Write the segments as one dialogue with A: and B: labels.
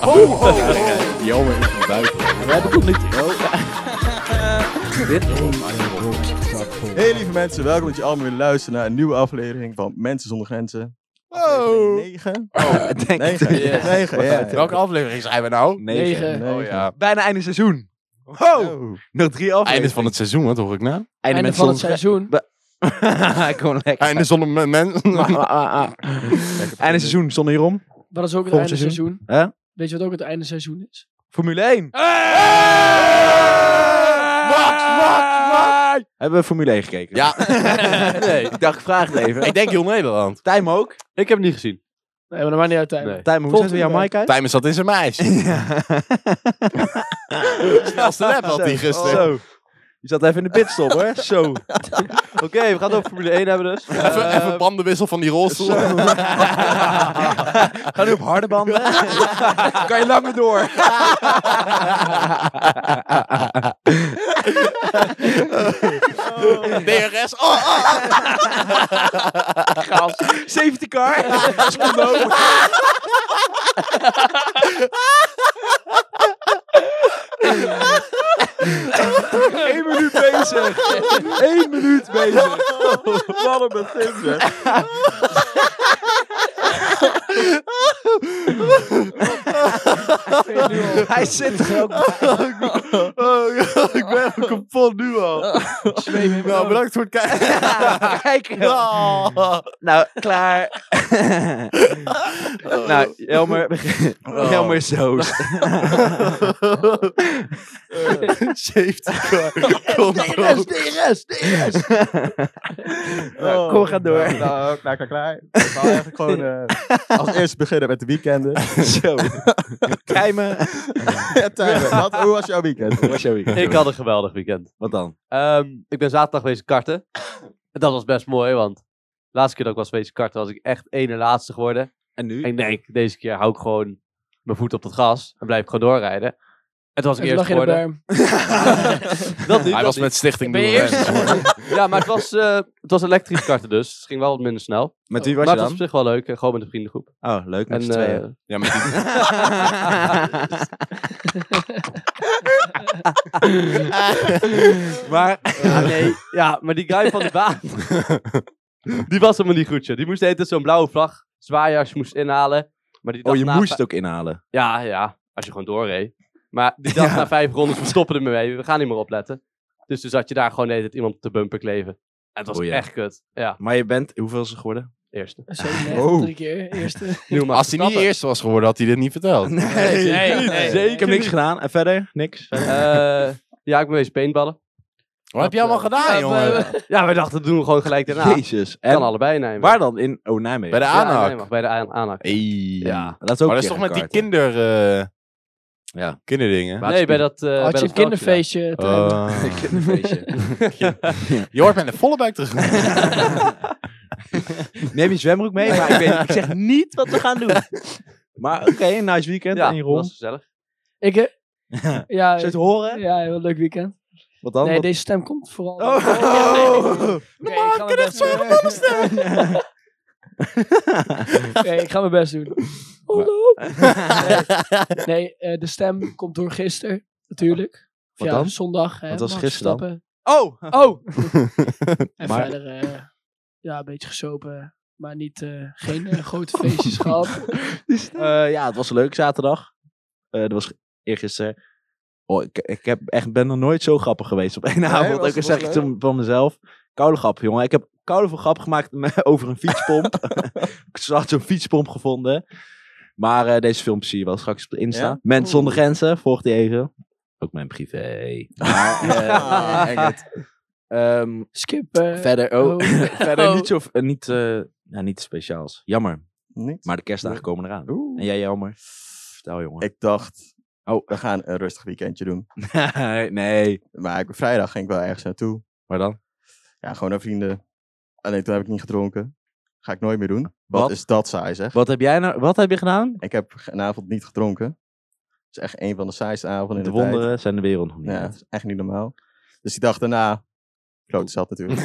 A: Ho, ho, ho.
B: Jelme is van buiten.
C: We hebben tot nu toe.
B: Hey lieve mensen, welkom dat je allemaal weer luisteren naar een nieuwe aflevering van Mensen zonder Grenzen. Oh.
A: Wow.
B: 9?
C: Denk
B: 9,
C: Ja.
B: 9, ja.
A: Welke aflevering zijn we nou?
C: Negen.
B: Negen.
A: Oh ja.
D: Bijna einde seizoen.
A: Wow.
D: Nog drie afleveringen.
A: Einde van het seizoen, wat hoor ik nou?
C: Einde
E: Einde
C: met
E: van het
C: zonder-
E: seizoen.
C: Ik kon lekker.
A: Einde zonder men- mensen.
C: Ah, ah, ah.
D: Einde seizoen zonder hierom.
E: Dat is ook het
D: Volgend
E: einde seizoen.
C: Hè?
E: Weet je wat ook het einde seizoen is?
D: Formule 1.
A: Wat, wat, wat?
C: Hebben we Formule 1 gekeken?
A: Ja.
C: nee, ik dacht, vraag het even.
A: Ik denk heel Nederland.
C: Tijm ook?
F: Ik heb het niet gezien.
E: Nee, maar dat maakt niet uit. Tijmen.
F: Nee.
C: Tijm, hoe
E: Volgende
C: zetten we jouw
E: week.
C: mic uit?
A: Tijmen zat in zijn meis. Snelste lap had hij gisteren.
C: Zo. Je zat even in de pitstop, hoor. Zo.
F: Oké, we gaan het over Formule 1 hebben dus.
A: Even,
F: Eh,
A: even bandenwissel van die rolstoel.
C: Gaan nu op harde banden.
D: Kan je langer door.
A: DRS. Oh, oh,
D: Safety car. Eén minuut bezig. Eén minuut bezig.
B: Wat een begin, zeg.
D: Hij zit er ook bij.
A: oh, ik ben helemaal kapot nu al. Nou, bedankt voor het kijken.
C: Kijk.
A: Oh.
C: Nou, klaar. nou, Jelmer, begin-
A: Oh.
C: Jelmer is zo.
A: Safety car. Control. Oh.
C: Nou, kom, ga door.
B: Nou, klaar, klaar, klaar. Ik wou eigenlijk gewoon eh, als eerste beginnen met de weekenden.
C: Zo. Kijmen.
B: Ja, Tijmen, wat, hoe was jouw weekend?
F: ik had een geweldig weekend.
C: Wat dan?
F: Ehm, ik ben zaterdag geweest karten. En dat was best mooi, want de laatste keer dat ik was geweest karten was ik echt ene laatste geworden.
C: En nu?
F: En ik denk, deze keer hou ik gewoon mijn voet op dat gas en blijf ik gewoon doorrijden. En toen was ik
E: En toen
F: eerst
E: lag je in de
F: geworden.
E: berm.
F: Dat niet,
A: Hij
F: dat
A: was
F: niet.
A: met Stichting
E: Ben je
A: Doelen
E: eerst?
A: Rens.
F: Ja, maar het was, eh, het was elektrisch karten dus. Het ging wel wat minder snel.
C: Met wie was
F: maar
C: je
F: het was
C: dan?
F: op zich wel leuk. eh, Gewoon met een vriendengroep.
C: Oh, leuk, met
F: En,
C: z'n tweeën.
F: eh,
A: Ja, met die...
F: Maar, ah, nee, ja, maar die guy van de baan, die was helemaal niet goed, joh. Die moest de hele tijd zo'n blauwe vlag, zwaaiers moest inhalen. Maar die
C: oh,
F: dacht
C: je
F: na
C: moest
F: vij-
C: het ook inhalen.
F: Ja, ja, als je gewoon doorreed. Maar die dacht na vijf rondes, we stoppen ermee mee, we gaan niet meer opletten. Dus toen zat je daar gewoon de hele tijd iemand op de bumper kleven. En het was
C: Oei, ja.
F: echt kut. Ja,
C: Maar je bent, hoeveel is er geworden?
F: eerste.
E: Zo net,
A: Oh.
B: Wow.
E: drie keer. Eerste.
F: Nieuwe
A: Als hij niet de eerste was geworden, had hij dit niet verteld.
C: Nee,
E: nee, nee.
C: zeker Ik heb niks gedaan. En verder? Niks.
F: ja, ik ben wees paintballen.
A: Wat heb je allemaal gedaan,
F: Eh,
E: eh,
A: jongen?
F: Ja, wij dachten, dat doen we gewoon gelijk daarna.
C: Jezus. En
F: Kan allebei nemen.
C: waar dan? In, oh,
A: Bij
C: Nijmegen.
A: de
F: Ja, in
A: aanhak.
F: Nijmegen, bij de aan- aanhak.
A: Hey.
C: ja, dat is ook
A: Maar dat
C: een
A: is toch
C: keer
A: met die
C: gekarten.
A: kinder... eh,
C: Ja.
A: Kinderdingen.
F: Nee, bij dat... eh, bij
E: Had
F: dat
E: je een
F: veldje daar.
E: kinderfeestje? Tijmen?
A: Oh.
C: Kinderfeestje.
A: Je hoort met een volle buik terug.
C: Neem je zwembroek mee, maar ik, weet, ik zeg niet wat we gaan doen. Maar oké, een nice weekend.
F: Ja,
C: en je
F: dat was
C: rond.
F: gezellig.
E: Ik heb... Ja,
C: Zit
E: ja,
C: te horen?
E: heel leuk weekend.
C: Wat dan?
E: Nee,
C: Wat-
E: deze stem komt vooral.
C: Oh.
E: Oké, ik ga mijn best doen. Oké, ik ga mijn best doen.
C: Oh,
E: Hallo. Nee, nee, eh, de stem komt door gisteren, natuurlijk. Of
C: Wat
E: ja,
C: dan?
E: zondag. Hè,
C: Wat was
E: Max
C: gisteren dan?
E: Verstappen.
C: Oh!
E: Oh! en
C: Maar-
E: verder, eh, ja, een beetje gesopen. Maar niet, eh, geen eh, grote feestjes gehad.
C: Eh, ja, het was leuk zaterdag. Eh, dat was eergisteren. Oh, ik, ik heb echt, ben nog nooit zo grappig geweest op één avond.
B: was-
C: ook al
B: was
C: zeg ik
B: leuk?
C: het van mezelf. Koude grap, jongen. Ik heb koude veel grap gemaakt met- over een fietspomp. ik had zo'n fietspomp gevonden. Maar eh, deze filmpjes zie je wel straks op de Insta.
B: Ja?
C: Mens zonder grenzen, volg die even. Ook mijn privé. Maar, eh, eng het. Ehm,
E: Skip. eh,
C: verder, oh,
E: oh.
C: verder
E: Oh.
C: niet zo... eh, niet, eh, ja, niet speciaals. Jammer.
B: Niet?
C: Maar de kerstdagen komen eraan.
B: Oeh.
C: En jij, Jelmer? Vertel, jongen.
B: Ik dacht,
C: Oh.
B: we gaan een rustig weekendje doen.
C: nee, nee.
B: Maar ik, vrijdag ging ik wel ergens naartoe.
C: Maar dan?
B: Ja, gewoon naar vrienden. Alleen toen heb ik niet gedronken. Ga ik nooit meer doen. Wat,
C: Wat?
B: is dat saai, zeg.
C: Wat heb jij nou, wat heb je gedaan?
B: Ik heb vanavond niet gedronken. Dat is echt een van de saaiste avonden in
C: De
B: de, tijd.
C: wonderen zijn de wereld nog niet
B: Ja, dat
C: uit.
B: is echt niet normaal. Dus die dag daarna... Klote zat natuurlijk.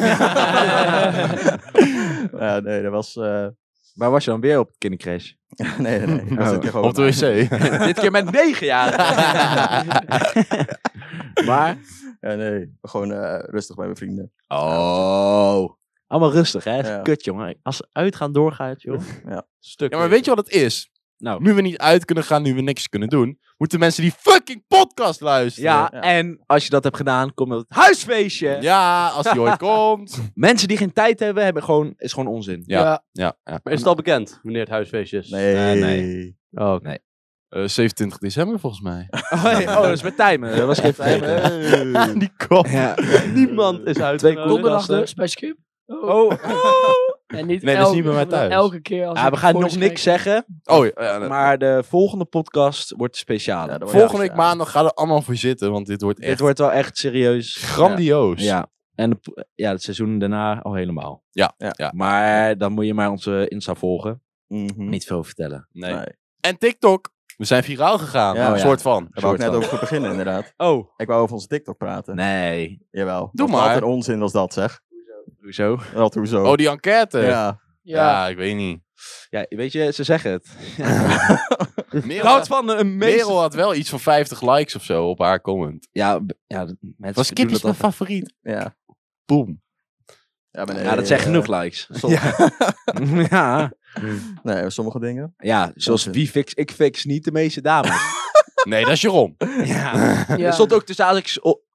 B: ja, nee, dat was... eh,
C: Waar was je dan weer op kindercrash?
B: Nee, nee, nee. Dan zit je gewoon
D: Op de wc.
C: Dit keer met negen jaar. maar,
B: Ja, nee. Gewoon eh, rustig bij mijn vrienden.
D: Oh.
C: allemaal rustig hè.
B: Ja.
C: Kut jongen. Als ze uitgaan doorgaat joh.
F: Stuk.
D: Ja, maar weet je wat het is?
C: Nou.
D: Nu we niet uit kunnen gaan, nu we niks kunnen doen, moeten mensen die fucking podcast luisteren.
C: Ja, en als je dat hebt gedaan, komt het huisfeestje.
D: Ja, als die ooit komt.
C: Mensen die geen tijd hebben, hebben gewoon, is gewoon onzin.
D: Ja.
E: Ja.
D: Ja, ja.
F: Maar is het al bekend, wanneer het huisfeestje is?
B: Nee.
C: Nee,
F: Oh, oké.
D: Eh, 27 december volgens mij.
C: Oh, hey, oh, dat is met timen. Dat was geen tijd.
B: Die kop.
C: Ja.
F: Niemand is uit.
C: Twee
E: Donderdag
C: Gasten.
E: dus, bij Skip.
C: Oh.
E: En niet
D: Nee, dat is
E: elke,
D: niet bij mij thuis.
E: Elke keer als
C: Ja,
E: ik
C: Ah, we gaan nog
E: voice
C: niks
E: krijg.
C: zeggen,
D: Oh, ja, ja, nee.
C: maar de volgende podcast wordt speciaal.
B: Ja, dat wordt-
D: Volgende week
B: ja.
D: maandag ga er allemaal voor zitten, want dit wordt
C: Dit
D: echt
C: wordt wel echt serieus.
D: grandioos.
C: Ja. En de po- ja, het seizoen daarna al helemaal.
D: Ja,
B: Ja.
D: ja.
C: Maar eh, dan moet je maar onze Insta volgen.
B: Mhm.
C: Niet veel vertellen.
D: Nee.
B: Nee.
D: En TikTok. We zijn viraal gegaan.
B: Ja,
D: een
B: ja.
D: soort van.
B: Daar wou ik net
C: Soort van.
B: over beginnen, inderdaad.
C: Oh.
B: Ik wou over onze TikTok praten.
C: Nee.
B: Jawel.
D: Doe
B: Wat
D: maar.
B: Wat een onzin was dat, zeg.
C: Hoezo?
B: Wat hoezo.
D: Oh, die enquête. Ja,
B: ja.
E: Ja.
D: ik weet niet.
C: Ja, weet je, ze zeggen het.
D: Merel,
C: Goud van een meestal.
D: Merel had wel iets van 50 likes of zo op haar comment.
C: Ja, b- ja, d- mensen
D: Was
C: doen
D: Kippie's
C: dat
D: mijn
C: al-
D: favoriet?
B: Ja.
D: Boom.
B: Ja, maar nee,
C: Ja, dat zijn
B: eh,
C: genoeg likes.
B: soms-
C: ja.
B: Nee, sommige dingen.
C: ja, zoals
B: Onzin.
C: wie fix, ik fix niet de meeste dames.
D: Nee, dat is Jeroen.
C: ja.
E: Ja.
C: Er stond ook tussen Alex... Oh,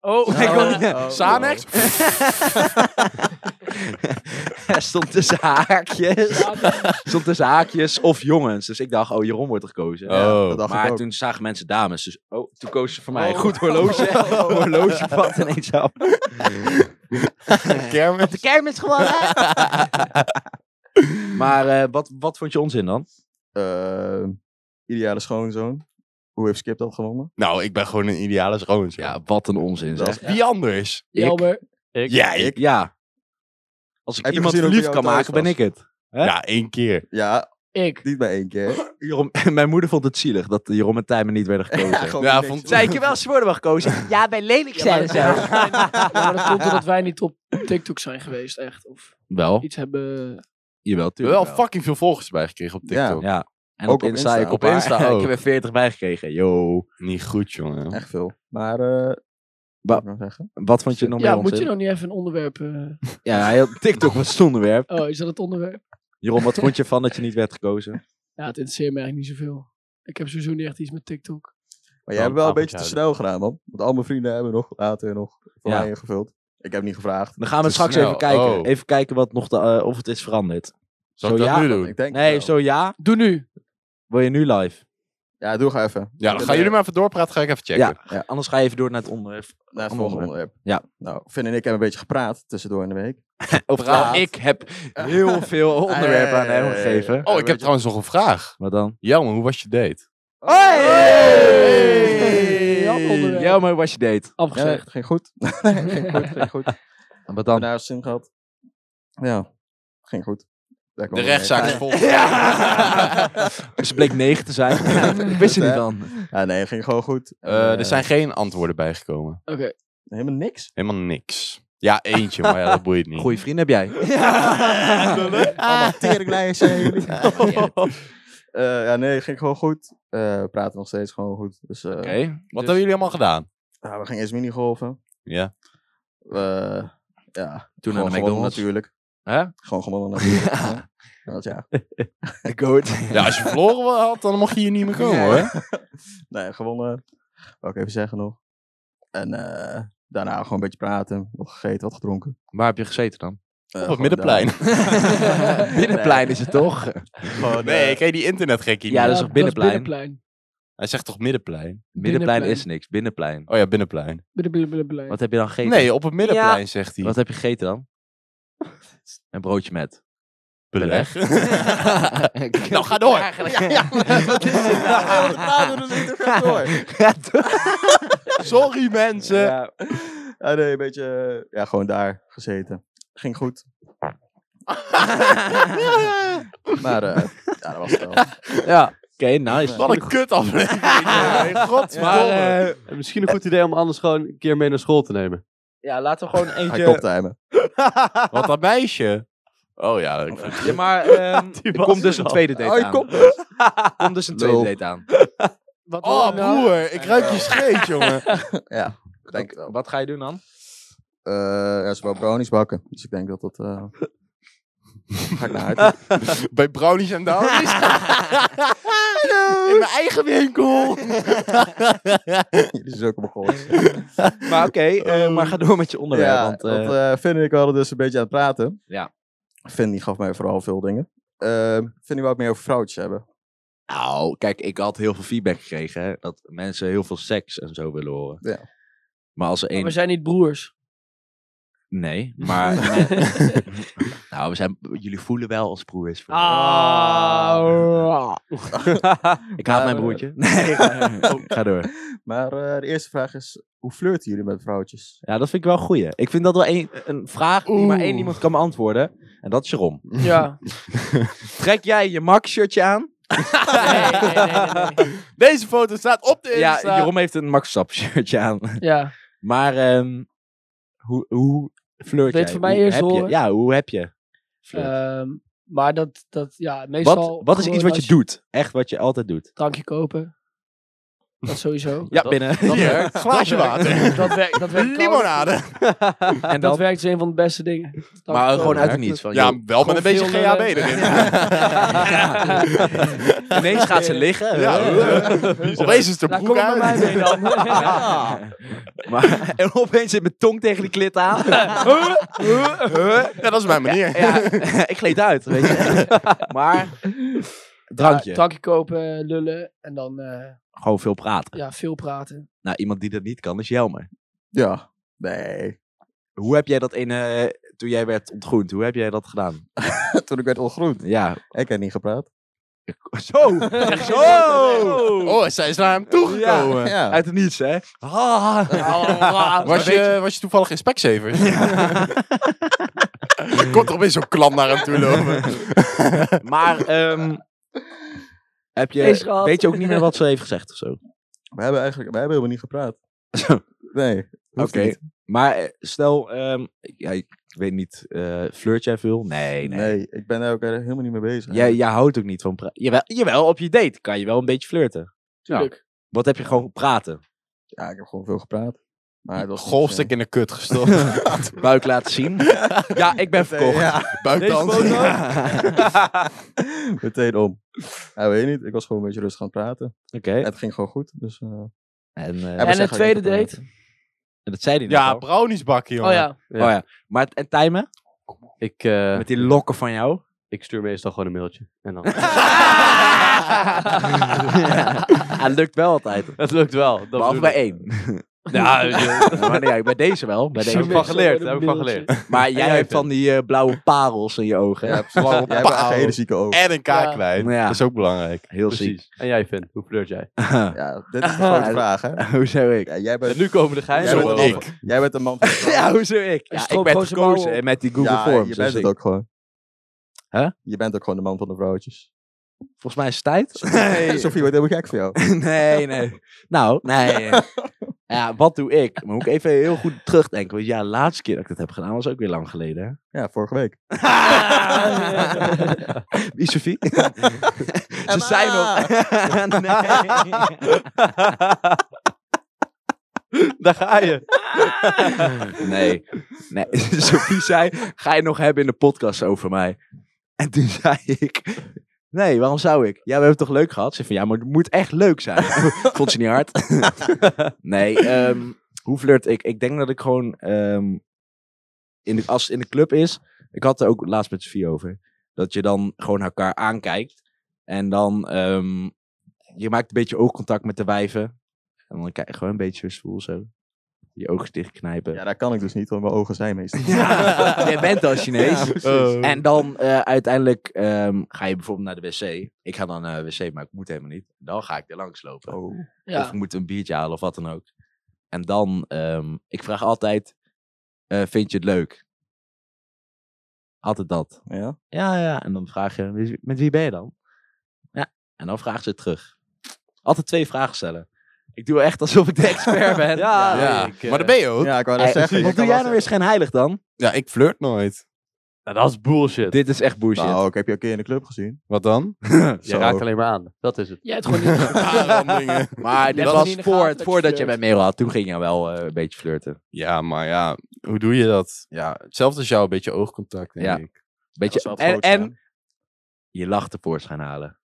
E: Oh,
C: ik
E: ja.
C: kon-
D: Sanex?
C: er stond tussen haakjes. stond tussen haakjes of jongens. Dus ik dacht, oh, Jeroen wordt gekozen.
B: Ja, dat
D: Oh.
B: dacht ik
C: Maar
B: ook.
C: toen zagen mensen dames. Dus oh, toen kozen ze voor mij.
E: Oh.
C: Goed horloge.
B: Oh.
C: horloge valt ineens af.
D: Kermit.
C: De kermis gewoon. maar eh, wat, wat vond je onzin dan?
B: Eh, ideale schoonzoon. Hoe heeft Skip dat gewonnen?
D: Nou, ik ben gewoon een ideale schoonzoon.
C: Ja, wat een onzin
B: Dat
C: zeg.
B: is-
D: Wie anders?
E: Jelmer.
F: Ik?
D: Jij.
B: Ik?
C: Ja. Als ik
B: Heb je
C: iemand
B: gezien hoe
C: verliefd
B: ik
C: kan
B: jou
C: maken, ben
B: thuis
C: ik het. Hè?
D: Ja, één keer.
B: Ja,
E: Ik.
B: niet bij één keer.
C: Jeroen, mijn moeder vond het zielig dat Jeroen en Tijmen niet werden gekozen.
B: gewoon
D: Ja,
B: niks.
D: vond-
C: Zei ik je wel, ze worden wel gekozen. Ja, bij lelijk
E: Ja, maar
C: zijn
E: dat,
C: ze.
E: ja, maar dat komt omdat wij niet op TikTok zijn geweest, echt. Of
C: Wel,
E: iets hebben...
C: jawel,
D: Ik heb wel
C: tuurlijk wel.
D: fucking veel volgers bijgekregen op
B: Ja.
D: TikTok.
C: Ja. En
B: Ook
C: op
B: op
C: Insta,
B: Insta.
C: ik op
D: Op
C: Insta
D: Insta
C: Ik
D: ook.
C: heb er 40 bijgekregen. Yo.
D: Niet goed, jongen.
B: Echt veel. Maar, eh
C: Ba-
B: wat moet ik nou zeggen?
C: Wat vond je nog
E: Ja,
C: meer
E: moet je
C: onzin?
E: nog niet even een onderwerp... eh,
C: Ja, hij had TikTok was het onderwerp.
E: Oh, is dat het onderwerp?
C: Jeroen, wat vond je van dat je niet werd gekozen?
E: Ja, het interesseert me eigenlijk niet zoveel. Ik heb sowieso niet echt iets met TikTok.
B: Maar
F: Wel
B: jij hebt wel een
F: een
B: beetje te snel gedaan, man. Want al mijn vrienden hebben nog later nog voor
C: Ja.
B: mij ingevuld. Ik heb niet gevraagd.
C: Dan gaan we
D: Te
C: straks
D: snel.
C: even kijken.
D: Oh.
C: Even kijken wat nog de, eh, of het is veranderd.
D: Zal ik
C: Zo
D: dat
C: ja,
D: nu doen?
B: Ik denk
C: Nee,
B: wel.
C: zo ja.
E: Doe nu.
C: Wil je nu live?
B: Ja, doe ga even.
D: Ja, dan gaan jullie maar even doorpraten. Ga ik even checken.
C: Ja. Anders ga je even door naar het onderwerp.
B: Naar het
C: Ander
B: volgende onderwerp.
C: Ja.
B: Nou, Finn en ik hebben een beetje gepraat tussendoor in de week.
C: Of
D: Praat.
C: Eh, ik heb heel veel onderwerpen aan hem
B: Hey.
C: gegeven.
D: Oh, ik heb trouwens nog een vraag.
C: Wat dan?
D: Jelmer, hoe was je date?
C: Hoi!
E: Hey! Ja, onderwerp.
C: Ja, maar was je date?
B: Ja, nee,
E: Afgezegd.
B: het ging goed. ging goed, ging goed. We
C: Wat
B: hebben
C: dan?
B: daar zin gehad. Ja, ging goed. Daar kwam het
D: De
B: mee.
D: rechtszaak is vol.
C: Ze bleek negen te zijn. ik wist het niet dan.
B: Ja, nee, het ging gewoon goed.
D: Eh,
B: Eh,
D: er zijn geen antwoorden bijgekomen.
E: Oké.
B: helemaal niks.
D: Helemaal niks. Ja, eentje, maar ja, dat boeit niet.
C: Goeie vriend heb jij.
B: Allemaal teringlijers zijn jullie. Eh, ja, nee, het ging gewoon goed. Eh, we praten nog steeds gewoon goed. Dus eh,
D: Wat hebben jullie allemaal gedaan?
B: ja, we gingen eerst minigolven.
D: Ja.
B: Eh, ja,
C: Toen naar de
B: gewoon gewonnen
C: McDonald's.
B: natuurlijk.
C: Hè?
B: Gewoon gewonnen natuurlijk. ja. Want ja,
C: Ik hoor het.
D: Ja, als je verloren had, dan mocht je hier niet meer komen, hoor.
B: Nee, gewonnen. Wou ik even zeggen nog. En eh, daarna gewoon een beetje praten. Wat gegeten, wat gedronken.
C: Waar heb je gezeten dan?
B: Eh,
D: Op het
B: gewoon
D: middenplein.
B: daar.
C: Binnenplein is het toch?
B: Nee, gewoon,
D: Nee,
B: eh,
D: ik heet die internetgekkie.
C: Ja,
D: niet.
C: dat is toch binnenplein?
E: binnenplein.
D: Hij zegt toch middenplein?
C: Middenplein
E: Binnenplein.
C: is niks. Binnenplein.
D: Oh ja, binnenplein.
E: Binnenplein.
C: Wat heb je dan gegeten?
D: Nee, op het middenplein, zegt hij.
C: Wat heb je gegeten dan? Een broodje met.
D: Beleg. nou, ga door. Sorry, mensen.
C: Ja.
B: ah, nee, een beetje... eh, ja, gewoon daar gezeten. Ging goed. Maar eh, ja, dat was het wel.
C: ja. Oké, nice.
D: Wat een kut aflevering.
F: Maar
D: Godverdomme.
F: eh, misschien een goed idee om anders gewoon een keer mee naar school te nemen.
C: Ja, laten we gewoon
B: Hij koptimen.
D: Wat dat meisje. Oh ja, ik vind-
C: Ja, maar ehm, er
F: was
C: komt
F: er
C: dus een
F: al.
C: tweede date
A: Oh, je
C: aan.
A: komt
C: Er komt dus een tweede
B: Lul.
C: date aan.
E: Wat wil
D: Oh,
E: je nou?
D: broer, ik ruik je scheet, jongen.
B: Ja. Ik
C: Kijk,
B: denk, wel.
C: wat ga je doen dan?
B: Eh, ja, ze wil brownies bakken. Dus ik denk dat dat... eh, ga ik naar uit.
D: Bij Brownies en Downies. In mijn eigen winkel.
B: Dit is ook op mijn
C: Maar oké, eh, maar ga door met je onderwerp.
B: Ja,
C: want,
B: want,
C: eh,
B: eh, Finn en ik hadden dus een beetje aan het praten.
C: Ja.
B: Finn die gaf mij vooral veel dingen. Eh, Finn die wou het meer over vrouwtjes hebben.
C: Nou, kijk, ik had heel veel feedback gekregen. Hè, dat mensen heel veel seks en zo willen horen.
B: Ja.
C: Maar als er
E: Maar
C: één...
E: we zijn niet broers.
C: Nee, maar... nou, we zijn, jullie voelen wel als broers.
E: Ah.
C: Ik haat mijn
B: Maar,
C: broertje. Nou, Nee, oh, ga door.
B: Maar eh, de eerste vraag is, hoe flirten jullie met vrouwtjes?
C: Ja, dat vind ik wel een goeie. Ik vind dat wel een, een vraag die maar één iemand kan beantwoorden. En dat is Jeroen.
E: Ja.
C: Trek jij je Max-shirtje aan?
E: Nee, nee, nee, nee, nee.
D: Deze foto staat op de
C: Ja,
D: Insta.
C: Jeroen heeft een Max-stap-shirtje aan.
E: Ja.
C: Maar ehm, hoe, hoe flirt
E: Wil je het
C: jij?
E: van mij
C: Hoe
E: eerst
C: heb je-
E: horen?
C: Ja, hoe heb je flirt?
E: Ehm, maar dat, dat, ja, meestal...
C: wat, wat is iets
E: gewoon
C: wat je
E: als
C: doet? Echt wat je altijd doet?
E: Drankje kopen. Dat sowieso.
C: Ja,
F: dat-
C: binnen.
D: Hier, glaasje water.
E: dat werkt, dat werkt ook.
D: Limonade.
C: en
E: Dat
C: dan,
E: werkt is een van de beste dingen. Drankje
F: Maar
E: kopen.
F: gewoon uit het niets. Van,
D: Ja,
F: ja,
D: wel met een beetje
E: veel
D: GHB
E: lullen.
D: erin.
C: ineens gaat ze liggen.
D: Ja, Opeens is de
E: Daar
D: broek
E: Nou, kom ik bij mij
D: uit.
E: mee dan.
C: Maar, en opeens zit mijn tong tegen die klit aan.
D: Ja, dat is mijn manier.
C: ja, ik gleed uit, weet je. Maar, drankje.
E: Ja, drankje kopen, lullen en dan eh,
C: Gewoon veel praten.
E: ja, veel praten.
C: Nou, iemand die dat niet kan is Jelmer.
B: Ja. Nee.
C: Hoe heb jij dat in, eh, toen jij werd ontgroend, hoe heb jij dat gedaan?
B: Toen ik werd ongroen.
C: Ja,
B: Ik heb niet gepraat.
C: zo! zo!
D: Oh, zij is naar hem toegekomen.
B: Ja.
C: Uit het niets, hè? Ah.
D: Was, je, was je toevallig in Specsavers? Er komt er opeens zo'n klant naar hem toe lopen.
C: Maar, ehm, heb je,
E: Eens gehad.
C: weet je ook niet meer wat ze heeft gezegd of zo?
B: We hebben eigenlijk we hebben helemaal niet gepraat.
C: Zo.
B: Nee.
C: Oké,
B: hoeft niet.
C: maar eh, stel, ehm, ja, ik weet niet, eh, flirt jij veel? Nee, nee.
B: Nee, ik ben daar ook eigenlijk helemaal niet mee bezig.
C: Jij, jij houdt ook niet van praten. Jawel, jawel, op je date kan je wel een beetje flirten.
E: Tuurlijk.
C: Wat heb je gewoon praten?
B: Ja, ik heb gewoon veel gepraat. Maar het was
D: Golfstuk in de kut gestopt.
C: Buik laten zien. Ja, ik ben verkocht.
B: Ja,
D: Buikdans.
C: Deze foto?
B: meteen om. Ja, weet je niet. Ik was gewoon een beetje rustig aan het praten.
C: Oké.
B: En het ging gewoon goed. Dus, eh,
C: En, eh,
B: Ja, we
E: en
B: zeggen
E: het tweede
B: dat je
E: date?
C: en dat zei hij net
D: Ja,
C: al.
D: brownies bakken, jongen.
E: Oh ja.
C: Oh ja. Maar het- en timen?
F: ik, eh,
C: Met die lokken van jou?
F: ik stuur meestal gewoon een mailtje. En dan...
C: Het lukt wel altijd.
F: Het lukt wel. Dat
C: Behalve
F: bedoel
C: bij
F: ik.
C: één.
F: Ja, eh,
C: Ja, maar nee, bij deze wel. Bij
F: daar heb
C: deze
F: ik
C: wel.
F: van geleerd. Daar heb ik van geleerd.
C: Maar jij
F: jij
C: hebt van die eh, blauwe parels in je ogen.
B: Ja, jij hebt echt een hele zieke ogen.
D: En een
E: Ja.
D: kaaklijn.
C: Ja.
D: Dat is ook belangrijk.
C: Heel
F: Precies. En jij, Finn, hoe flirt jij?
B: Ja, dit is de grote vraag, hè?
C: ziek. hoezo ik?
B: Ja, jij,
F: En
B: bent,
F: nu komen de
B: jij,
F: geheimen
B: bent
D: Zo
B: een
D: ik.
B: man, jij bent een man van vrouwen.
C: Ja, hoezo ik?
E: Een
C: Ja, ik ben
E: stroopgozer
C: gekozen
E: bouwen.
C: eh, met die Google Forms.
B: je
C: dus
B: bent het
C: ik-
B: ook gewoon.
C: Hè?
B: Je bent ook gewoon de man van de vrouwtjes.
C: Volgens mij is het tijd. Nee,
B: Sofie, wat heel gek voor jou.
C: nee, nee. Nou, nee. Ja, wat doe ik? Maar moet ik even heel goed terugdenken. Want ja, de laatste keer dat ik dat heb gedaan was ook weer lang geleden. hè?
B: Ja, vorige week.
C: Wie, Sophie? Ze zijn nog...
F: Daar ga je.
C: nee. nee. Sophie zei, ga je nog hebben in de podcast over mij? En toen zei ik... Nee, waarom zou ik? Ja, we hebben het toch leuk gehad? Ze van, ja, maar het moet echt leuk zijn. Vond ze niet hard? nee, ehm, hoe flirt ik? Ik denk dat ik gewoon... ehm, in de, als het in de club is... Ik had er ook laatst met Sophie over. Dat je dan gewoon elkaar aankijkt. En dan... ehm, je maakt een beetje oogcontact met de wijven. En dan kijk je gewoon een beetje zwoel zo. Je ogen dichtknijpen.
B: Ja, daar kan ik dus niet, want mijn ogen zijn meestal.
C: Ja, jij bent al Chinees.
D: Eh,
C: En dan eh, uiteindelijk ehm, ga je bijvoorbeeld naar de wc. Ik ga dan naar de wc, maar ik moet helemaal niet. Dan ga ik er langs lopen.
B: Oh.
E: Ja.
C: Of ik moet een biertje halen of wat dan ook. En dan, ehm, ik vraag altijd, eh, vind je het leuk? Altijd dat.
B: Ja?
C: Ja, ja. En dan vraag je, "Met wie- met wie ben je dan? Ja. En dan vraagt ze het terug. Altijd twee vragen stellen. Ik doe echt alsof ik de expert ben.
F: Ja,
D: ja.
F: ik, eh,
D: Maar daar ben je ook.
B: Ja, ik wou
C: Hey,
B: net zeggen.
C: wat
B: je
C: doe
B: kan
C: jij
B: wel
C: nou weer schijnheilig dan?
D: Ja, ik flirt nooit.
F: Nou, dat is bullshit.
C: Dit is echt bullshit.
B: Nou, ik heb je een keer in de club gezien.
D: Wat dan?
F: Je raakt alleen maar aan. Dat is het.
E: Jij hebt gewoon niet.
D: Ah, Aanrandingen.
C: Maar
E: hebt
C: dit
E: het
C: was
E: niet in de
C: voor,
E: gaten dat je
C: voordat je
E: flirt.
C: met Merel had. Toen ging je wel eh, een beetje flirten.
D: Ja, maar ja, hoe doe je dat? Ja, hetzelfde als jou, een beetje oogcontact, denk
C: Ja.
D: ik.
C: Beetje, en, en je lach tevoorschijn halen.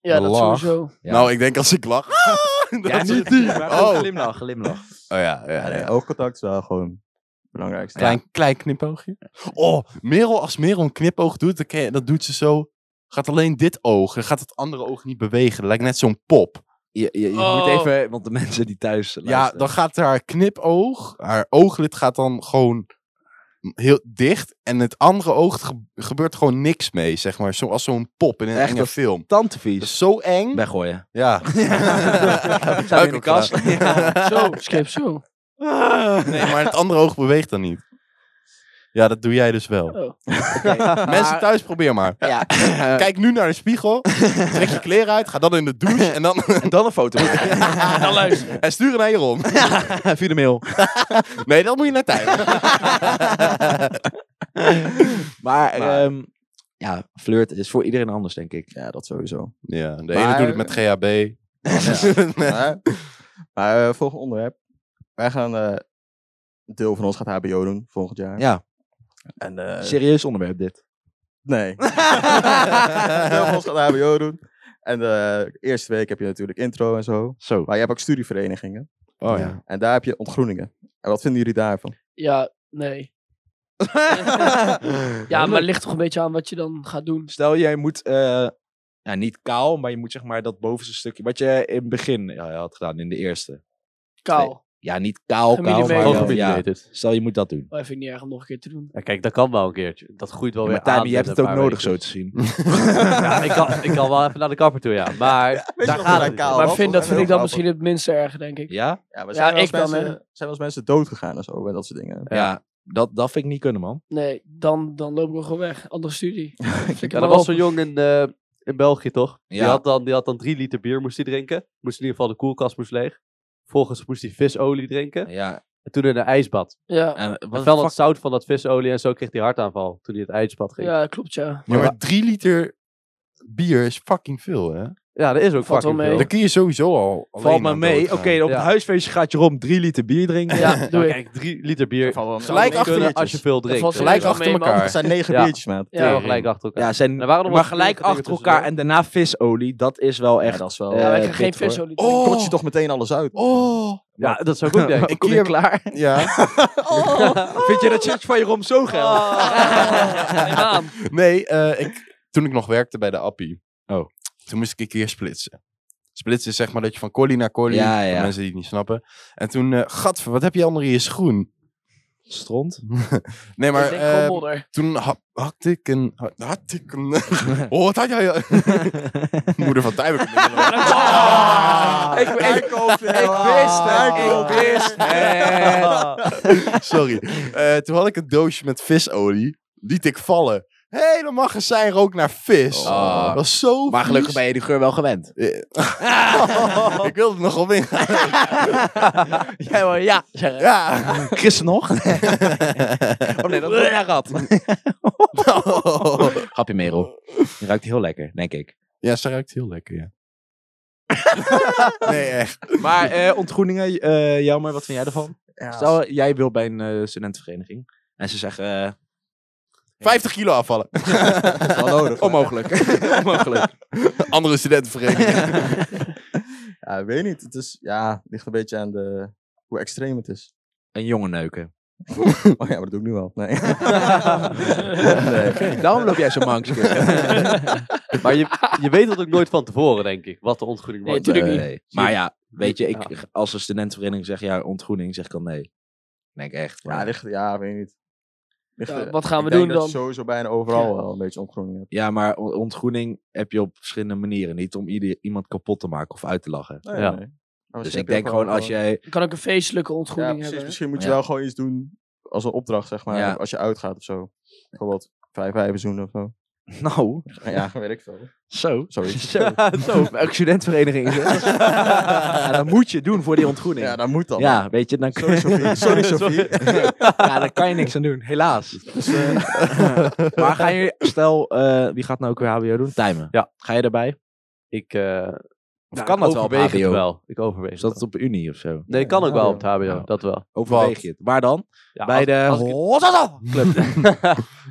E: Ja, dat
D: Lach.
E: sowieso.
C: Ja.
D: Nou, ik denk als ik lach... dat
C: ja,
D: is-
C: niet die, maar gewoon
D: Oh.
C: glimlach, glimlach.
D: Oh ja, ja,
B: Ja,
D: ja.
B: nee, oogcontact is wel gewoon het belangrijkste.
D: Klein, klein knipoogje. Oh, Merel, als Merel een knipoog doet, dan kan je- dat doet ze zo... Gaat alleen dit oog, dan gaat het andere oog niet bewegen. Dat lijkt net zo'n pop.
C: Je, je, je
E: Oh.
C: moet even, want de mensen die thuis
D: Ja,
C: luisteren.
D: dan gaat haar knipoog, haar ooglid gaat dan gewoon heel dicht. En het andere oog ge- gebeurt gewoon niks mee, zeg maar. Zoals zo'n pop in een
C: Echt,
D: enge
C: dat-
D: film. Dat
C: tantevies.
D: is zo eng.
C: Weggooien.
D: Ja.
C: Staat in de kast. Ja.
E: Zo, skip zo.
D: Nee, maar het andere oog beweegt dan niet. Ja, dat doe jij dus wel.
E: Oh.
D: Mensen thuis, probeer maar.
C: Ja. Eh.
D: Kijk nu naar de spiegel. Trek je kleren uit. Ga dan in de douche. En, dan,
C: En dan een foto.
E: Dan luister.
D: en stuur een eier om.
C: Via de mail.
D: Nee, dat moet je naar thuis.
C: Maar,
D: Maar-
C: ehm, ja, flirt is voor iedereen anders, denk ik.
B: Ja, dat sowieso.
D: Ja, de ene
B: Maar-
D: doet het met GHB.
B: maar maar eh, volgend onderwerp. Wij gaan, eh, een deel van ons gaat HBO doen volgend jaar.
C: Ja.
B: En, eh,
C: Serieus onderwerp dit.
B: nee. een deel van ons gaat HBO doen. En de eerste week heb je natuurlijk intro en zo.
C: Zo.
B: Maar je hebt ook studieverenigingen.
D: Oh
C: ja.
B: En daar heb je ontgroeningen. En wat vinden jullie daarvan?
E: Ja, nee. Ja, maar het ligt toch een beetje aan wat je dan gaat doen.
C: Stel, jij moet, eh, ja, niet kaal, maar je moet zeg maar dat bovenste stukje, wat je in het begin ja, had gedaan, in de eerste.
E: Kaal.
C: Ja, niet kaal, kaal, maar
E: Gemillimeterd.
C: wel-
E: Oh,
C: ja,
F: Hooggemillimeterd.
C: stel je moet dat doen.
E: Dat vind ik Oh, niet erg om nog een keer te doen.
F: Ja, kijk, dat kan wel een keertje. Dat groeit wel
C: Ja,
F: weer
C: maar Tijmen,
F: aan
C: je hebt
F: binnen
C: het ook
F: een paar
C: nodig
F: weken.
C: zo te zien.
F: Ja, ik kan, ik kan wel even naar de kapper toe, ja. Maar daar
B: nog
F: gaat
B: naar
F: het.
B: kaal?
F: niet.
E: Maar
B: dat
E: vind,
B: was heel
E: dat vind ik dan
B: grappig.
E: misschien het minste erg, denk ik.
C: Ja?
B: Ja, maar
E: Ja,
B: zijn, wel eens
E: ik dan,
B: mensen,
E: hè.
B: zijn wel eens mensen dood gegaan en zo, bij dat soort dingen.
C: Ja, Eh, dat, dat vind ik niet kunnen, man.
E: Nee, dan, dan lopen we gewoon weg. Andere studie. Flikker
F: Ja,
E: maar
F: dat was
E: op.
F: zo'n jongen in, eh, in België, toch?
C: Ja.
F: Die, had dan, die had dan drie liter bier moest hij drinken. Moest in ieder geval de koelkast moest leeg. Vervolgens moest hij visolie drinken.
C: Ja,
F: En toen in een ijsbad.
E: Ja.
C: en
F: En
C: wat
F: fel
C: de
F: dat
C: fuck-
F: zout van dat visolie en zo kreeg hij hartaanval toen hij het ijsbad ging. Ja,
E: ja, klopt ja.
D: Ja, maar drie liter bier is fucking veel, hè?
F: dat is ook
E: Valt wel
F: fucking
E: mee.
F: veel.
D: Dan kun je sowieso al
C: Valt me mee. Oké, op
F: Ja.
C: het huisfeestje gaat je rond drie liter bier drinken.
E: Ja, doe ik.
F: Nou, Kijk, drie liter bier.
B: Gelijk
F: kunnen
B: achter
F: als je veel
E: valt
F: drinkt.
E: wel
D: Gelijk
E: mee,
D: achter
E: man.
D: elkaar.
B: Het zijn negen
F: Ja.
B: biertjes, maat.
E: Ja.
F: Ja,
D: Tering.
F: gelijk achter elkaar.
C: Ja, zijn,
F: Er waren nog
C: maar
F: wat
C: gelijk
F: dingen
C: achter elkaar en
F: tussendoor.
C: daarna visolie, dat is wel echt...
B: Ja, dat is wel...
C: eh,
E: Ja, wij krijgen geen
C: dit, hoor.
E: visolie.
B: Dan
D: Oh.
B: kot je toch meteen alles uit.
D: Oh,
F: Ja, dat zou ik ook denken.
D: Een keer-
C: klaar.
D: ja.
C: Vind je dat shirtje van je rom zo geil?
E: Ah. Neem aan.
D: Nee, eh, ik, toen ik nog werkte bij de Appie.
C: Oh.
D: Toen moest ik een keer splitsen. Splitsen is zeg maar dat je van collie naar collie...
C: Ja,
D: voor
C: ja.
D: mensen die het niet snappen. En toen, eh gadver, wat heb je onder in je schoen?
C: Stront.
D: Nee,
E: Maar,
D: maar
E: ik denk
D: eh,
E: gewoon modder.
D: toen ha- hakte ik een... ha- Had ik een... oh, wat had jij? Moeder van Tijmen. komt binnen.
C: Ah, ik- ik-
D: Daar komt hij.
C: ik wist het,
D: Ah.
C: ik wist het.
D: Sorry. Eh, toen had ik een doosje met visolie. Liet ik vallen. Helemaal gezijn rook naar vis.
C: Oh.
D: Dat was zo
C: Maar gelukkig
D: vies.
C: ben je die geur wel gewend.
D: Ik wilde er nog op ingaan.
C: Jij wel, ja. Zeg,
D: Ja.
C: Christen nog? oh nee, dat is een rat. Grapje, Merel. Die ruikt heel lekker, denk ik.
D: Ja, ze ruikt heel lekker, ja. nee, echt.
C: Maar eh, ontgroeningen, eh, Jelmer, wat vind jij ervan? Stel, jij wil bij een eh, studentenvereniging. En ze zeggen... eh,
D: 50 kilo afvallen.
B: Dat is wel nodig.
C: Onmogelijk. Onmogelijk.
D: Andere studentenvereniging.
B: Ja, ik weet niet. Het is, ja, ligt een beetje aan de, hoe extreem het is.
C: Een jongen neuken.
B: Oh ja, maar dat doe ik nu al. Nee.
C: Eh,
B: nee.
C: Daarom loop jij zo mank.
F: Maar je, je weet dat ook nooit van tevoren, denk ik. Wat de ontgroening
E: Nee,
F: wordt.
E: tuurlijk niet.
C: Nee. Maar ja, weet je, ik, als een studentenvereniging zegt ja, ontgroening, zeg ik dan nee. Ik Denk echt.
B: Ja,
C: Ja,
B: ligt, ja, weet niet. Ligt,
E: Ja,
B: er-
E: Nou, wat gaan we
B: ik denk
E: doen
B: dat
E: dan?
B: je sowieso bijna overal wel een beetje omgroening hebt.
C: ja, maar on- ontgroening heb je op verschillende manieren. Niet om ieder, iemand kapot te maken of uit te lachen.
B: Nee,
F: Ja.
B: nee. Maar
C: Dus
B: misschien
C: ik
B: heb je eh,
C: denk gewoon als jij...
E: Je kan ook een feestelijke
B: Ja,
E: ontgroening
B: precies.
E: hebben.
B: Misschien moet je
C: Ja.
B: wel gewoon iets doen als een opdracht, zeg maar.
C: Ja.
B: Als je uitgaat of zo. Bijvoorbeeld vijf eieren zoenen of zo.
C: Nou,
B: Ja, weet ik veel.
C: zo.
B: Sorry.
C: Zo. Zo. Elke studentvereniging is het. Ja, dat moet je doen voor die ontgroening.
B: Ja,
C: Ja,
B: dat moet dan.
C: weet je, dan,
B: Sorry, Sofie. Sorry, Dus, eh, Sofie.
C: ja, daar kan je niks aan doen, helaas. maar ga je, stel, eh, wie gaat nou ook weer HBO doen? Tijmen.
F: Ja.
C: Ga je daarbij?
F: Ik, eh,
C: Of kan dat wel op
F: overweeg
C: HBO?
F: het wel. Ik overweeg
C: Is
F: het
C: dat
F: wel.
C: het op Unie of zo?
F: Nee, kan ook wel op het HBO,
C: Ja.
F: dat wel.
C: Overweeg je het. Waar dan?
F: Ja,
C: Bij de...
F: als ik-
C: Hozzazza! Club.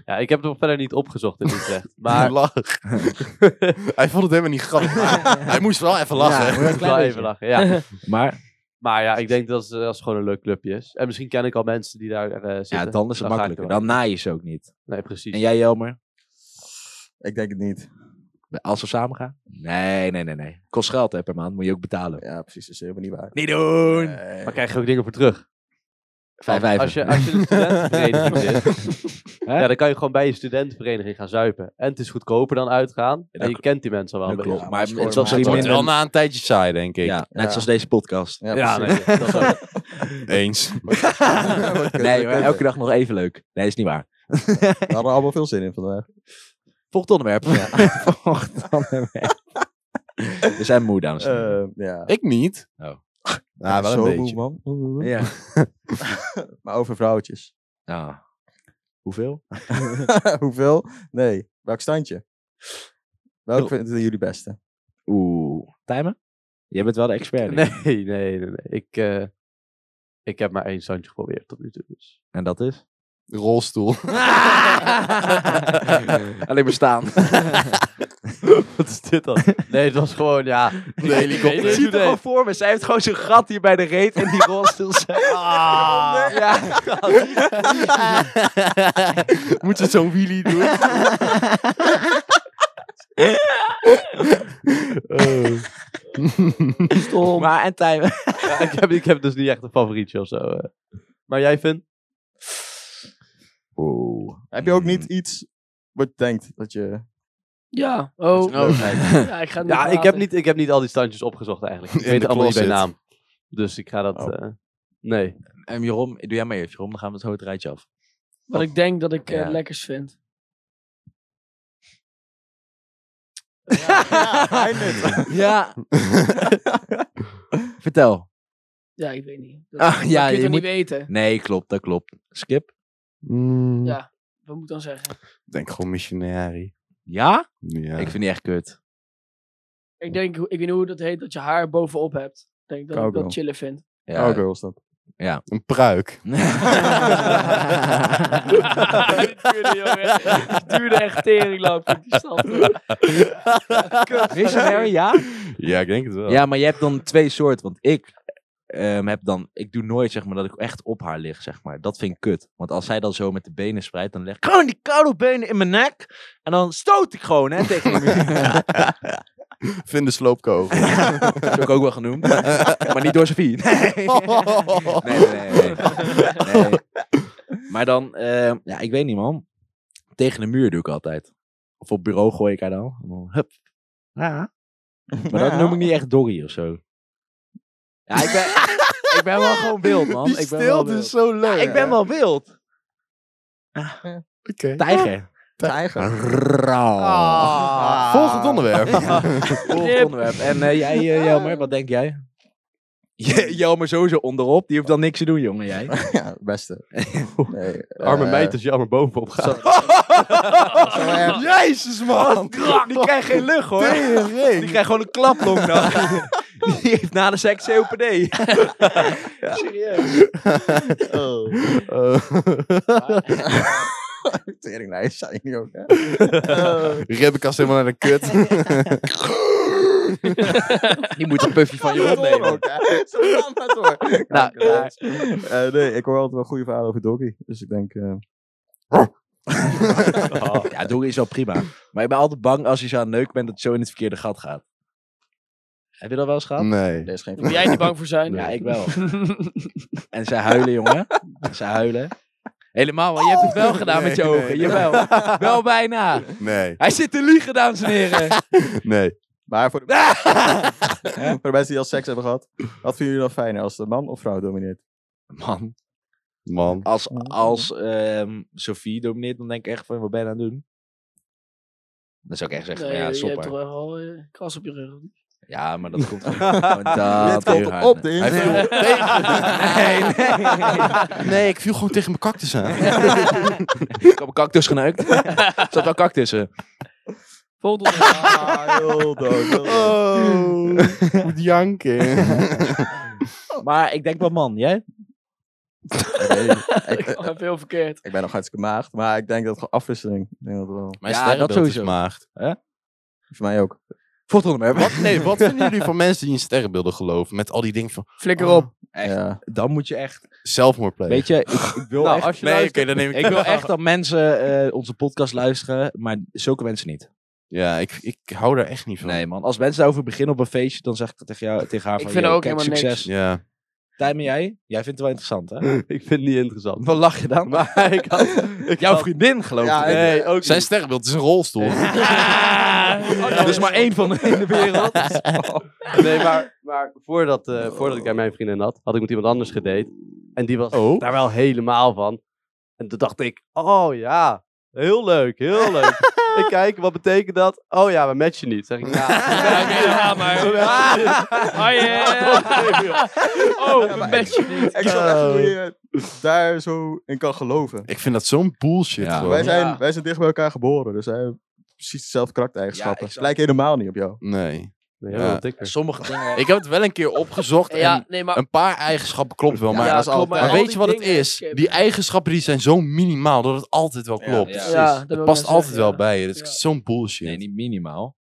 F: ja, ik heb het nog verder niet opgezocht in Utrecht. Maar
D: lach. hij vond het helemaal niet grappig. maar hij moest wel even lachen.
C: Ja, een
F: ik zal
C: klein beetje.
F: even lachen, ja.
C: Maar
F: Maar ja, ik denk dat het, eh, dat het gewoon een leuk clubje is. En misschien ken ik al mensen die daar eh zitten.
C: ja, dan is het
F: ga ik
C: makkelijker.
F: er wel.
C: Dan naai je ze ook niet.
F: Nee, precies.
C: En jij, Jelmer?
B: Ik denk het niet.
C: Als we samen gaan? Nee, nee, nee, nee. Kost geld hè, per maand. Moet je ook betalen.
B: Ja, precies. Dat is helemaal niet waar.
C: Niet doen!
B: Nee.
F: Maar krijg je ook dingen voor terug.
C: Vijf vijven.
F: Als je, als je de studentenvereniging zit,
C: Hè?
F: ja, dan kan je gewoon bij je studentenvereniging gaan zuipen. En het is goedkoper dan uitgaan. En
C: dat
F: je kent die mensen al wel.
C: Dat
F: een
C: klopt.
F: beetje.
C: maar
B: dat
C: het
B: is
C: was
B: voor
D: Het
C: misschien
B: mij.
D: wordt
C: minder...
D: wel na een tijdje saai, denk ik.
C: Ja, net
B: Ja.
C: zoals deze podcast.
B: Ja,
F: Ja,
B: precies.
F: nee, dat is ook-
D: Eens.
C: Nee, hoor,
B: Kut.
C: elke dag nog even leuk. Nee, is niet waar.
B: We hadden er allemaal veel zin in vandaag.
C: Volgend onderwerp. Volgend onderwerp. We zijn moe, dames en heren.
B: Eh, ja.
D: Ik niet.
C: Oh.
D: Nou, wel
B: Zo
D: een
B: moe,
D: beetje.
B: man.
C: Ja.
B: Maar over vrouwtjes.
C: Ah. Hoeveel?
B: Hoeveel? Nee. Welk standje? Welk vinden jullie beste?
C: Oeh. Tijmen? Jij bent wel de expert. nu.
F: nee, nee, nee. nee. Ik, eh, ik heb maar één standje geprobeerd tot nu toe. Dus.
C: En dat is?
D: Rolstoel.
C: Alleen bestaan.
F: Wat is dit dan? Nee, het was gewoon, ja.
D: De helikopter.
C: Ik zie het er gewoon voor me. Zij heeft gewoon zo'n gat hier bij de reet en die rolstoel. Ah. Ja.
D: Moet je zo'n wheelie doen?
E: Stom.
C: Maar en Tijmen.
F: Ja, ik, heb, ik heb dus niet echt een favorietje of zo. eh. Maar jij vindt?
C: Oeh.
B: Heb je ook niet iets wat je denkt dat je...
E: Ja, oh. Ja, ik ga het niet
F: Ja, ik heb,
E: praten.
F: niet, ik heb niet al die standjes opgezocht eigenlijk. Ik
D: In
F: weet
D: de
F: het allemaal niet bij
D: closet.
F: naam. Dus ik ga dat...
B: Oh.
F: eh, nee.
C: En Jeroen, doe jij maar even, Jeroen. Dan gaan we het grote rijtje af.
E: Wat ik denk dat ik eh,
C: Ja.
E: lekkers vind.
C: Ja. Vertel.
E: Ja, ik weet niet. Dat,
C: Ah, ja,
E: dat
C: je
E: kun je, toch
C: moet-
E: niet weten.
C: Nee, klopt, dat klopt. Skip?
E: Ja. Wat moet ik dan zeggen?
D: Mm, Ik denk gewoon missionary.
C: Ja?
D: Ja.
C: Ik vind die echt kut.
E: Ik denk, ik weet niet hoe dat heet, dat je haar bovenop hebt. Ik denk dat ik
B: Cowgirl.
E: dat chiller vind.
C: Ja.
B: Oh, girl is dat.
D: Een pruik.
E: Het duurde echt tering lang. vind ik die stad.
C: Missionary, ja?
D: Ja, ik denk het wel.
C: Ja, maar je hebt dan twee soorten. Want ik ehm, heb dan... Ik doe nooit, zeg maar, dat ik echt op haar lig, zeg maar. Dat vind ik kut. Want als zij dan zo met de benen spreidt, dan leg ik gewoon die koude benen in mijn nek. En dan stoot ik gewoon, hè, tegen die muur.
D: Vind de sloopkogel.
C: Dat heb ik ook wel genoemd. maar niet door Sophie. Nee. Nee, nee, nee. nee. Nee. Maar dan, eh, ja, ik weet niet, man. Tegen de muur doe ik altijd. Of op bureau gooi ik haar dan. En dan hup. Ja. Maar dat noem ik niet echt doggy of zo. Ja, ik ben, ik ben wel gewoon wild, man. ik ben wel wild.
D: zo leuk.
C: ik ben wel wild.
D: Oké.
C: Ah. Tijger.
B: Tijger. Ah.
D: Volgend onderwerp.
C: Volgend onderwerp. En eh, jij, eh, Jelmer, wat denk jij? Je- Jelmer sowieso onderop. Die hoeft dan niks te doen, jongen, jij.
B: Ja, het beste. Nee,
F: Arme
B: eh,
F: meid als je allemaal bovenop gaat.
D: Jezus, man.
C: Die krijgt geen lucht, hoor. Die krijgt gewoon een klaplong dan. Die heeft na de seks COPD. Serieus.
B: Teringlijst zijn jullie ook, hè?
D: Ribbekast helemaal naar de kut.
C: Die moet een puffje van je opnemen.
B: Zo gaan maar door.
C: Nou,
B: Ja. Eh, nee, ik hoor altijd wel goede verhalen over Doggy. Dus ik denk... eh,
C: Ja, doe is wel prima. Maar ik ben altijd bang als je zo aan het neuken bent dat het zo in het verkeerde gat gaat. Heb je dat wel eens gehad?
D: Nee.
B: er is geen
E: Moet jij niet bang voor zijn?
C: Ja, ik wel. En zij huilen, jongen. Zij huilen. Helemaal, want je hebt het wel gedaan met je
D: Nee, nee,
C: ogen.
D: nee.
C: Jawel. Wel bijna.
D: Nee.
C: Hij zit te liegen, dames en heren.
D: Nee.
B: Maar voor de, voor de mensen die al seks hebben gehad, wat vinden jullie dan fijner als de man of vrouw domineert?
C: Man.
D: Man.
C: Als, als ehm Sophie domineert, dan denk ik echt van, wat ben je aan het doen? Dan zou ik echt zeggen,
E: Nee,
C: ja,
E: je hebt
C: stop
E: toch
C: maar.
E: wel eh, kras op je rug. of niet?
C: Ja, maar dat komt
B: Oh,
C: gewoon dat
B: Dit komt
C: heel
B: op
C: hard.
B: de
D: Hij
B: internet.
D: viel
C: Nee, nee.
D: Nee, ik viel gewoon tegen mijn cactus aan.
C: Ik heb een cactus geneukt. Er zat wel cactussen.
E: Volgende onderwerp.
B: Ah, heel dood. heel dood.
D: Oh, moet janken.
C: Maar ik denk wel man, jij?
B: Nee,
E: Ik
B: ik,
E: heb heel verkeerd.
B: ik ben nog hartstikke maagd, maar ik denk dat gewoon afwisseling. Ik denk dat wel.
D: Mijn
C: Ja,
D: sterrenbeeld
C: dat sowieso.
D: is maagd.
B: Voor mij ook.
C: Volgende onderwerp.
D: Wat, nee, wat vinden jullie van mensen die in sterrenbeelden geloven? Met al die dingen van
E: Flikker op.
C: Echt?
B: Ja.
C: Dan moet je echt...
D: zelfmoord plegen.
C: Weet je, ik, ik wil
F: Nou,
C: echt...
F: als je
D: nee, oké,
F: luistert-
D: dan neem ik...
C: Ik wil echt dat mensen eh, onze podcast luisteren, maar zulke mensen niet.
D: Ja, ik, ik hou daar echt niet van.
C: Nee man, als mensen daarover beginnen op een feestje, dan zeg ik dat tegen, jou, tegen haar
E: Ik
C: van,
E: vind
C: "Yo,
E: er ook
C: kijk,
E: helemaal
C: succes.
D: Ja.
C: Tijmen, jij? Jij vindt het wel interessant, hè?
F: Ik vind het niet interessant.
C: Wat lach je dan?
F: Maar ik had... Ik
C: Jouw
F: had-
C: vriendin geloof ik.
B: Ja,
C: hè?
F: Nee, ook
D: Zijn
F: niet.
D: sterrenbeeld is een rolstoel.
C: Er is maar één van de in de wereld.
F: Nee, maar, maar voordat, eh, voordat ik aan mijn vriendin had, had ik met iemand anders gedate. En die was
D: Oh.
F: daar wel helemaal van. En toen dacht ik, oh ja, heel leuk, heel leuk. ik kijk, wat betekent dat? Oh ja, we matchen niet. Zeg ik, ja.
E: Ja, maar... Oh, yeah. Oh, een match niet.
B: Ik snap echt niet hoe je daar zo in kan geloven.
D: Ik vind dat zo'n bullshit
C: Ja.
D: gewoon.
B: Wij zijn,
F: Ja.
B: wij zijn dicht bij elkaar geboren, dus wij hebben precies dezelfde
C: Ja,
B: karaktereigenschappen.
C: exact.
B: Ze lijken helemaal niet op jou.
D: Nee.
F: Nee,
D: Ja.
F: dat wil ik.
C: Sommige dingen...
D: Ik heb het wel een keer opgezocht en
E: Ja, nee, maar...
D: een paar eigenschappen klopt wel, maar,
E: Ja,
D: dat is
E: klopt,
D: altijd...
E: maar
D: maar
E: al
D: weet
E: die
D: je wat het
E: dingen,
D: is?
E: Kim.
D: Die eigenschappen die zijn zo minimaal dat het altijd wel klopt.
C: ja.
E: Ja, dat wil
D: het
E: ik
D: past
E: net
D: altijd
E: zeggen,
D: wel
E: ja.
D: bij je. Dat
E: Ja.
D: is zo'n bullshit.
C: Nee,
D: Nee,
C: niet minimaal.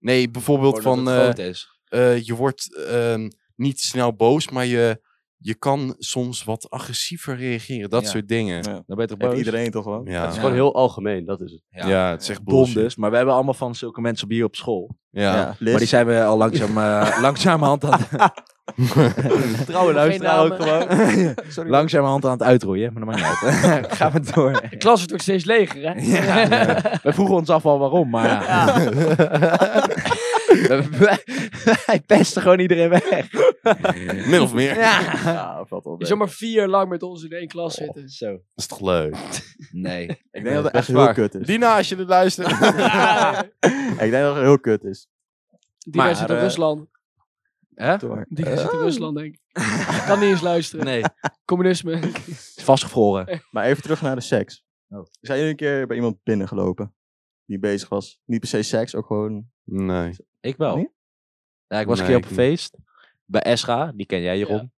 D: bijvoorbeeld
C: Gewoon
D: van
C: dat het
D: eh,
C: groot is.
D: eh, je wordt ehm, niet snel boos, maar je, je kan soms wat agressiever reageren. Dat
C: Ja.
D: soort dingen.
B: Ja.
D: Ja,
C: Dan ben je toch
B: Heeft
C: boos?
B: iedereen toch wel?
F: Het is
D: ja.
F: gewoon heel algemeen, dat is het.
C: Ja.
D: het is echt
C: Dom
D: bullshit.
C: dus, maar we hebben allemaal van zulke mensen op hier op school.
D: Ja.
C: Maar die zijn we al langzaam, eh langzamerhand aan het,
F: Trouwe luisteraar ook
E: namen.
F: gewoon.
C: langzamerhand aan het uitroeien. Maar dat maakt niet uit. Gaan we door.
E: De klas wordt ook steeds leger, hè?
C: Ja, we vroegen ons af al waarom, maar ja. wij, wij pesten gewoon iedereen weg.
D: Min of meer.
B: Ja, valt wel
E: Je
B: mee.
E: zou maar vier jaar lang met ons in één
D: Oh.
E: klas zitten.
C: Zo.
D: Dat is toch leuk?
C: Nee.
B: Ik denk dat het echt
D: Best
B: heel
D: waar.
B: kut is.
D: Dina, als je dit luistert.
B: Ik denk dat het heel kut is.
E: Die
C: Maar,
E: wij zitten in
C: eh,
E: Rusland.
C: Hè?
E: Die wij zitten in Rusland, denk ik. Kan niet eens luisteren.
C: Ehm. Nee.
E: Communisme.
C: Vastgevroren.
B: Maar even terug naar de seks.
C: Oh.
B: Zijn jullie een keer bij iemand binnengelopen die bezig was? Niet per se seks, ook gewoon...
D: Nee.
C: Ik wel.
B: Nee?
C: Ja, ik was een
D: Nee,
C: keer op
D: ik
C: een feest. Bij Esra, die ken jij Jeroen.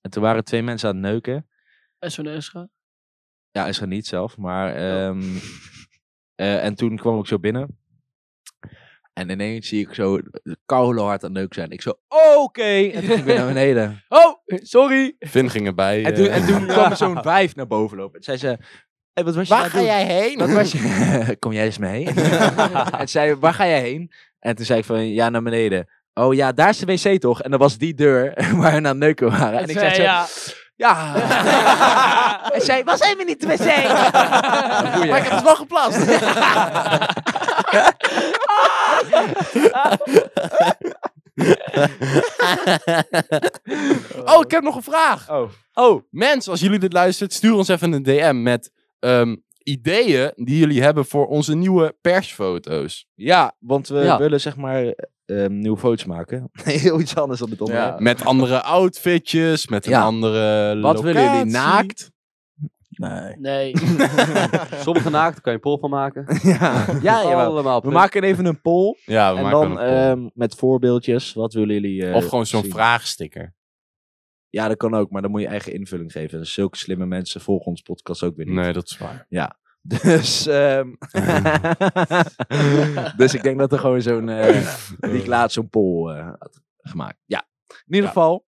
C: En toen waren twee mensen aan het neuken.
E: SNS gaan.
C: Ja, Esra niet zelf,
D: Oh.
C: maar... ehm, eh, en toen kwam ik zo binnen. En ineens zie ik zo koude hard aan het neuken zijn. Ik zo, oké! En toen ging ik weer naar beneden.
E: Oh, sorry.
D: Finn ging erbij.
C: En
D: eh,
C: toen, en toen kwam er zo'n vijf naar boven lopen. En zei ze, "Hé, wat was je aan
D: Waar
C: het
D: ga
C: doen?"
D: jij heen?
C: Wat was je? Kom jij eens mee? en zei, waar ga jij heen? En toen zei ik van, ja, naar beneden. Oh ja, daar is de wc toch? En dat was die deur waar we aan het neuken waren. En ik zei zo, ja.
E: ja.
C: en zij, was helemaal niet de wc. Goeie.
D: Maar ik heb het wel geplaatst. oh, ik heb nog een vraag.
F: Oh.
D: Mensen, als jullie dit luisteren, stuur ons even een DM met ehm, ideeën die jullie hebben voor onze nieuwe persfoto's.
C: Ja, want we
F: Ja.
C: willen zeg maar ehm, nieuwe foto's maken. Heel iets anders dan dit onderwerp.
D: Met andere outfitjes, met een
C: Ja.
D: andere
C: Wat willen jullie,
D: locatie.
C: naakt?
B: Nee.
E: Nee.
F: Sommige naakt, daar kan je een poll van maken.
C: Ja, ja, jawel.
F: allemaal.
C: We maken even een poll.
D: Ja, we
C: en
D: maken
C: dan
D: dan, een poll.
C: ehm, met voorbeeldjes. Wat willen jullie eh,
D: Of gewoon zo'n
C: zien?
D: vraagsticker.
C: Ja, dat kan ook, maar dan moet je eigen invulling geven. En zulke slimme mensen volgen ons podcast ook weer niet.
D: Nee, dat is waar.
C: Dus, ehm, dus ik denk dat er gewoon zo'n, eh die ik laatst zo'n poll eh, had gemaakt. Ja, in ieder
D: Ja.
C: geval.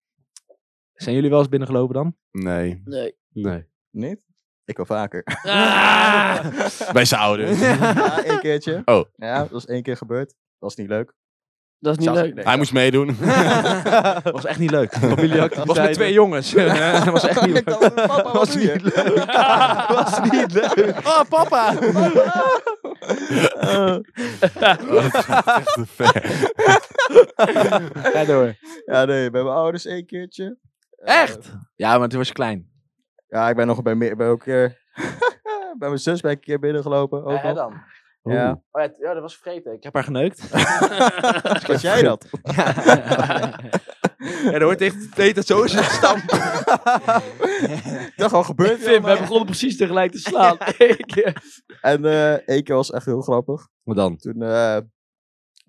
C: Zijn jullie wel eens binnengelopen dan?
D: Nee.
E: Nee.
F: Nee.
B: Niet? Ik wel vaker.
E: Ah.
D: Bij zijn ouders.
B: Ja, één keertje.
D: Oh.
B: Ja, dat was één keer gebeurd. Dat was niet leuk.
E: Dat is niet
B: Zelfs-
E: leuk.
B: nee,
D: Hij moest meedoen.
C: Dat was echt niet leuk.
F: Familieactiviteiten.
C: Dat was met twee jongens. Eh, Dat was echt niet
B: Ik
C: leuk.
B: dacht, papa, wat doe je?
E: Was
B: niet leuk.
D: Oh, papa!
C: Ga door.
B: Ja, nee, bij mijn ouders één keertje. Eh,
C: Echt? Ja, maar toen was je klein.
B: ja, ik ben nog bij meer, bij ook een keer. bij mijn zus ben ik een keer binnengelopen. Ook nog.
C: dan?
B: Ja.
C: Oh ja, t- ja, dat was vergeten. Ik heb haar geneukt.
B: Was jij dat?
C: ja. ja, dan hoort echt de hele tijd zo is het stam.
B: Dat is al gebeurd.
E: Vim, wij begonnen precies tegelijk te slaan. Ik, eh,
B: En eh één keer was echt heel grappig.
C: Maar dan?
B: Toen, eh,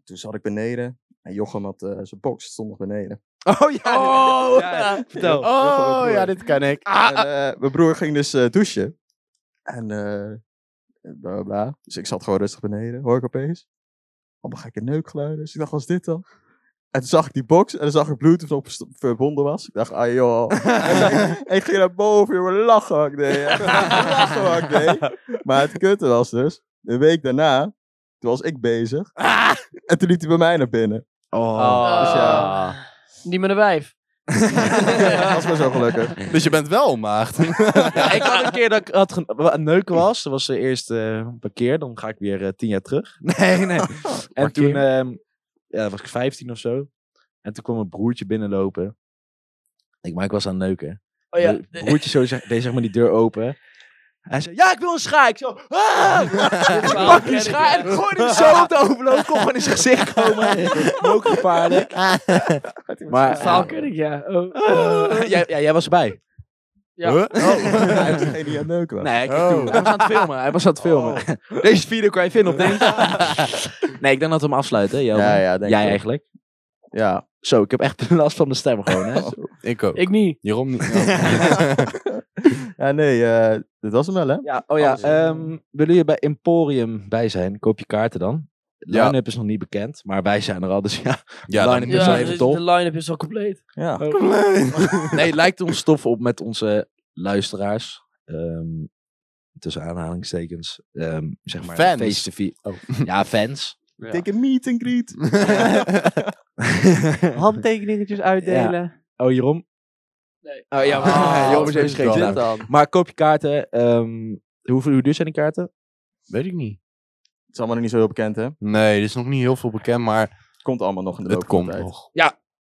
B: toen zat ik beneden. En Jochem had eh, zijn box stond nog beneden.
C: Oh ja.
F: Oh, ja, vertel.
B: Oh, ja,
D: dit kan ik.
B: En, eh, mijn broer ging dus eh, douchen. En eh, bla bla bla. Dus ik zat gewoon rustig beneden. Hoor ik opeens. Allemaal gekke neukgeluiden. Dus ik dacht, wat is dit dan? En toen zag ik die box en dan zag ik Bluetooth op verst- verbonden was. Ik dacht, ah joh. en ik ging naar boven, jongen, lachen wat ik deed. hè. lachen wat ik deed. Maar het kutte was dus, de week daarna, toen was ik bezig. En toen liep hij bij mij naar binnen.
F: Oh.
C: Oh. Ah.
E: dus ja. Niet met een wijf.
B: dat was maar zo gelukkig.
D: Dus je bent wel een maagd.
C: Ja, ik had een keer dat ik had gen- wa- een neuken was. Dat was de eerste eh, parkeer. Dan ga ik weer eh, tien jaar terug. Nee, nee. En toen ehm, ja, was ik vijftien of zo. En toen kwam mijn broertje binnenlopen. Ik, maar ik was aan het neuken.
E: Oh ja.
C: Mijn broertje zo zeg, deed zeg maar die deur open. Hij zei, ja, ik wil een schaar. Ik zo, "Ah!" Ik pak die schaar en ik gooi hem zo op de overloop. Kom van in zijn gezicht komen. Ook gevaarlijk. Maar,
E: Het verhaal ken ik, ja. Oh.
C: eh, jij, ja, jij was erbij.
E: Ja.
B: Hij was degene die aan het neuken was.
C: Nee, kijk toen. Hij was aan het filmen. Hij was aan het filmen. Deze video kan je vinden op Dance. nee, ik denk dat we hem afsluiten. Jelmer.
B: Ja, ja, denk
C: Jij
B: ik ook.
C: eigenlijk.
B: Ja.
C: Zo, ik heb echt last van de stem gewoon. Hè?
D: ik ook.
E: Ik niet.
D: Jeroen niet.
B: ja, nee, eh dit was hem wel, hè?
C: ja, oh ja.
B: Alles.
C: ehm, willen je bij Emporium bij zijn? Koop je kaarten dan. De
D: Ja.
C: line-up is nog niet bekend, maar wij zijn er al. Dus ja,
D: Ja,
C: Line-up
D: dan-
C: is
E: Ja,
C: wel
E: de,
C: even top.
E: de line-up is al compleet.
B: Ja.
C: Oh. Nee, het lijkt ons tof op met onze luisteraars. Ehm, tussen aanhalingstekens. Ehm, zeg maar
D: Fans.
C: face-to-face. Oh. Ja, fans.
F: Ja.
B: Take a meet and greet.
F: Handtekeningetjes uitdelen.
C: oh, Jeroen?
E: Nee.
C: Oh ja, maar,
D: Ah,
C: Jeroen is even geen
D: dat
C: zin.
D: is
F: dan?
C: Maar koop je kaarten. ehm, hoeveel, hoe duur zijn die kaarten?
D: Weet ik niet.
B: Het is allemaal nog niet zo heel bekend, hè?
D: Nee, er is nog niet heel veel bekend, maar
B: Het komt allemaal nog in de loop
D: het
B: van de
D: komt
B: tijd.
D: nog.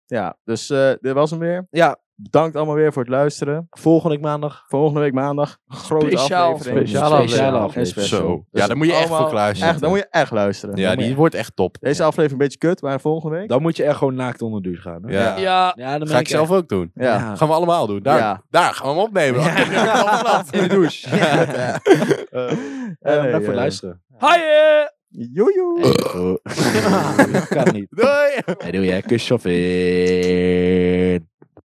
B: Ja, dus eh, dit was hem weer.
C: Ja.
B: Bedankt allemaal weer voor het luisteren.
C: Volgende maandag.
B: Volgende week maandag. Grote
E: Speciaal.
B: aflevering.
E: Speciale aflevering.
B: En special.
D: Zo.
B: Dus
D: Ja, daar moet je echt voor
B: allemaal-
D: klaarzitten.
B: Echt, dan moet je echt luisteren.
D: Ja,
B: Dan moet
D: die
B: je-
D: wordt echt top.
B: Deze aflevering een beetje kut, maar volgende week?
C: Dan moet je er gewoon naakt onder de douche gaan. Hè?
D: Ja.
E: Ja,
C: Ja, dan
D: Ga ik zelf ook doen.
B: Ja. Eh,
C: Ja.
D: Gaan we allemaal doen. Daar,
B: Ah. Ja.
D: daar gaan we hem opnemen.
C: in de douche.
B: Eh,
C: Bedankt Ehm, voor
B: eh,
C: het luisteren.
E: hi! eh.
B: Joe, joe.
C: Oh. kan niet.
D: Doei!
C: Hey, doe jij kusje of in?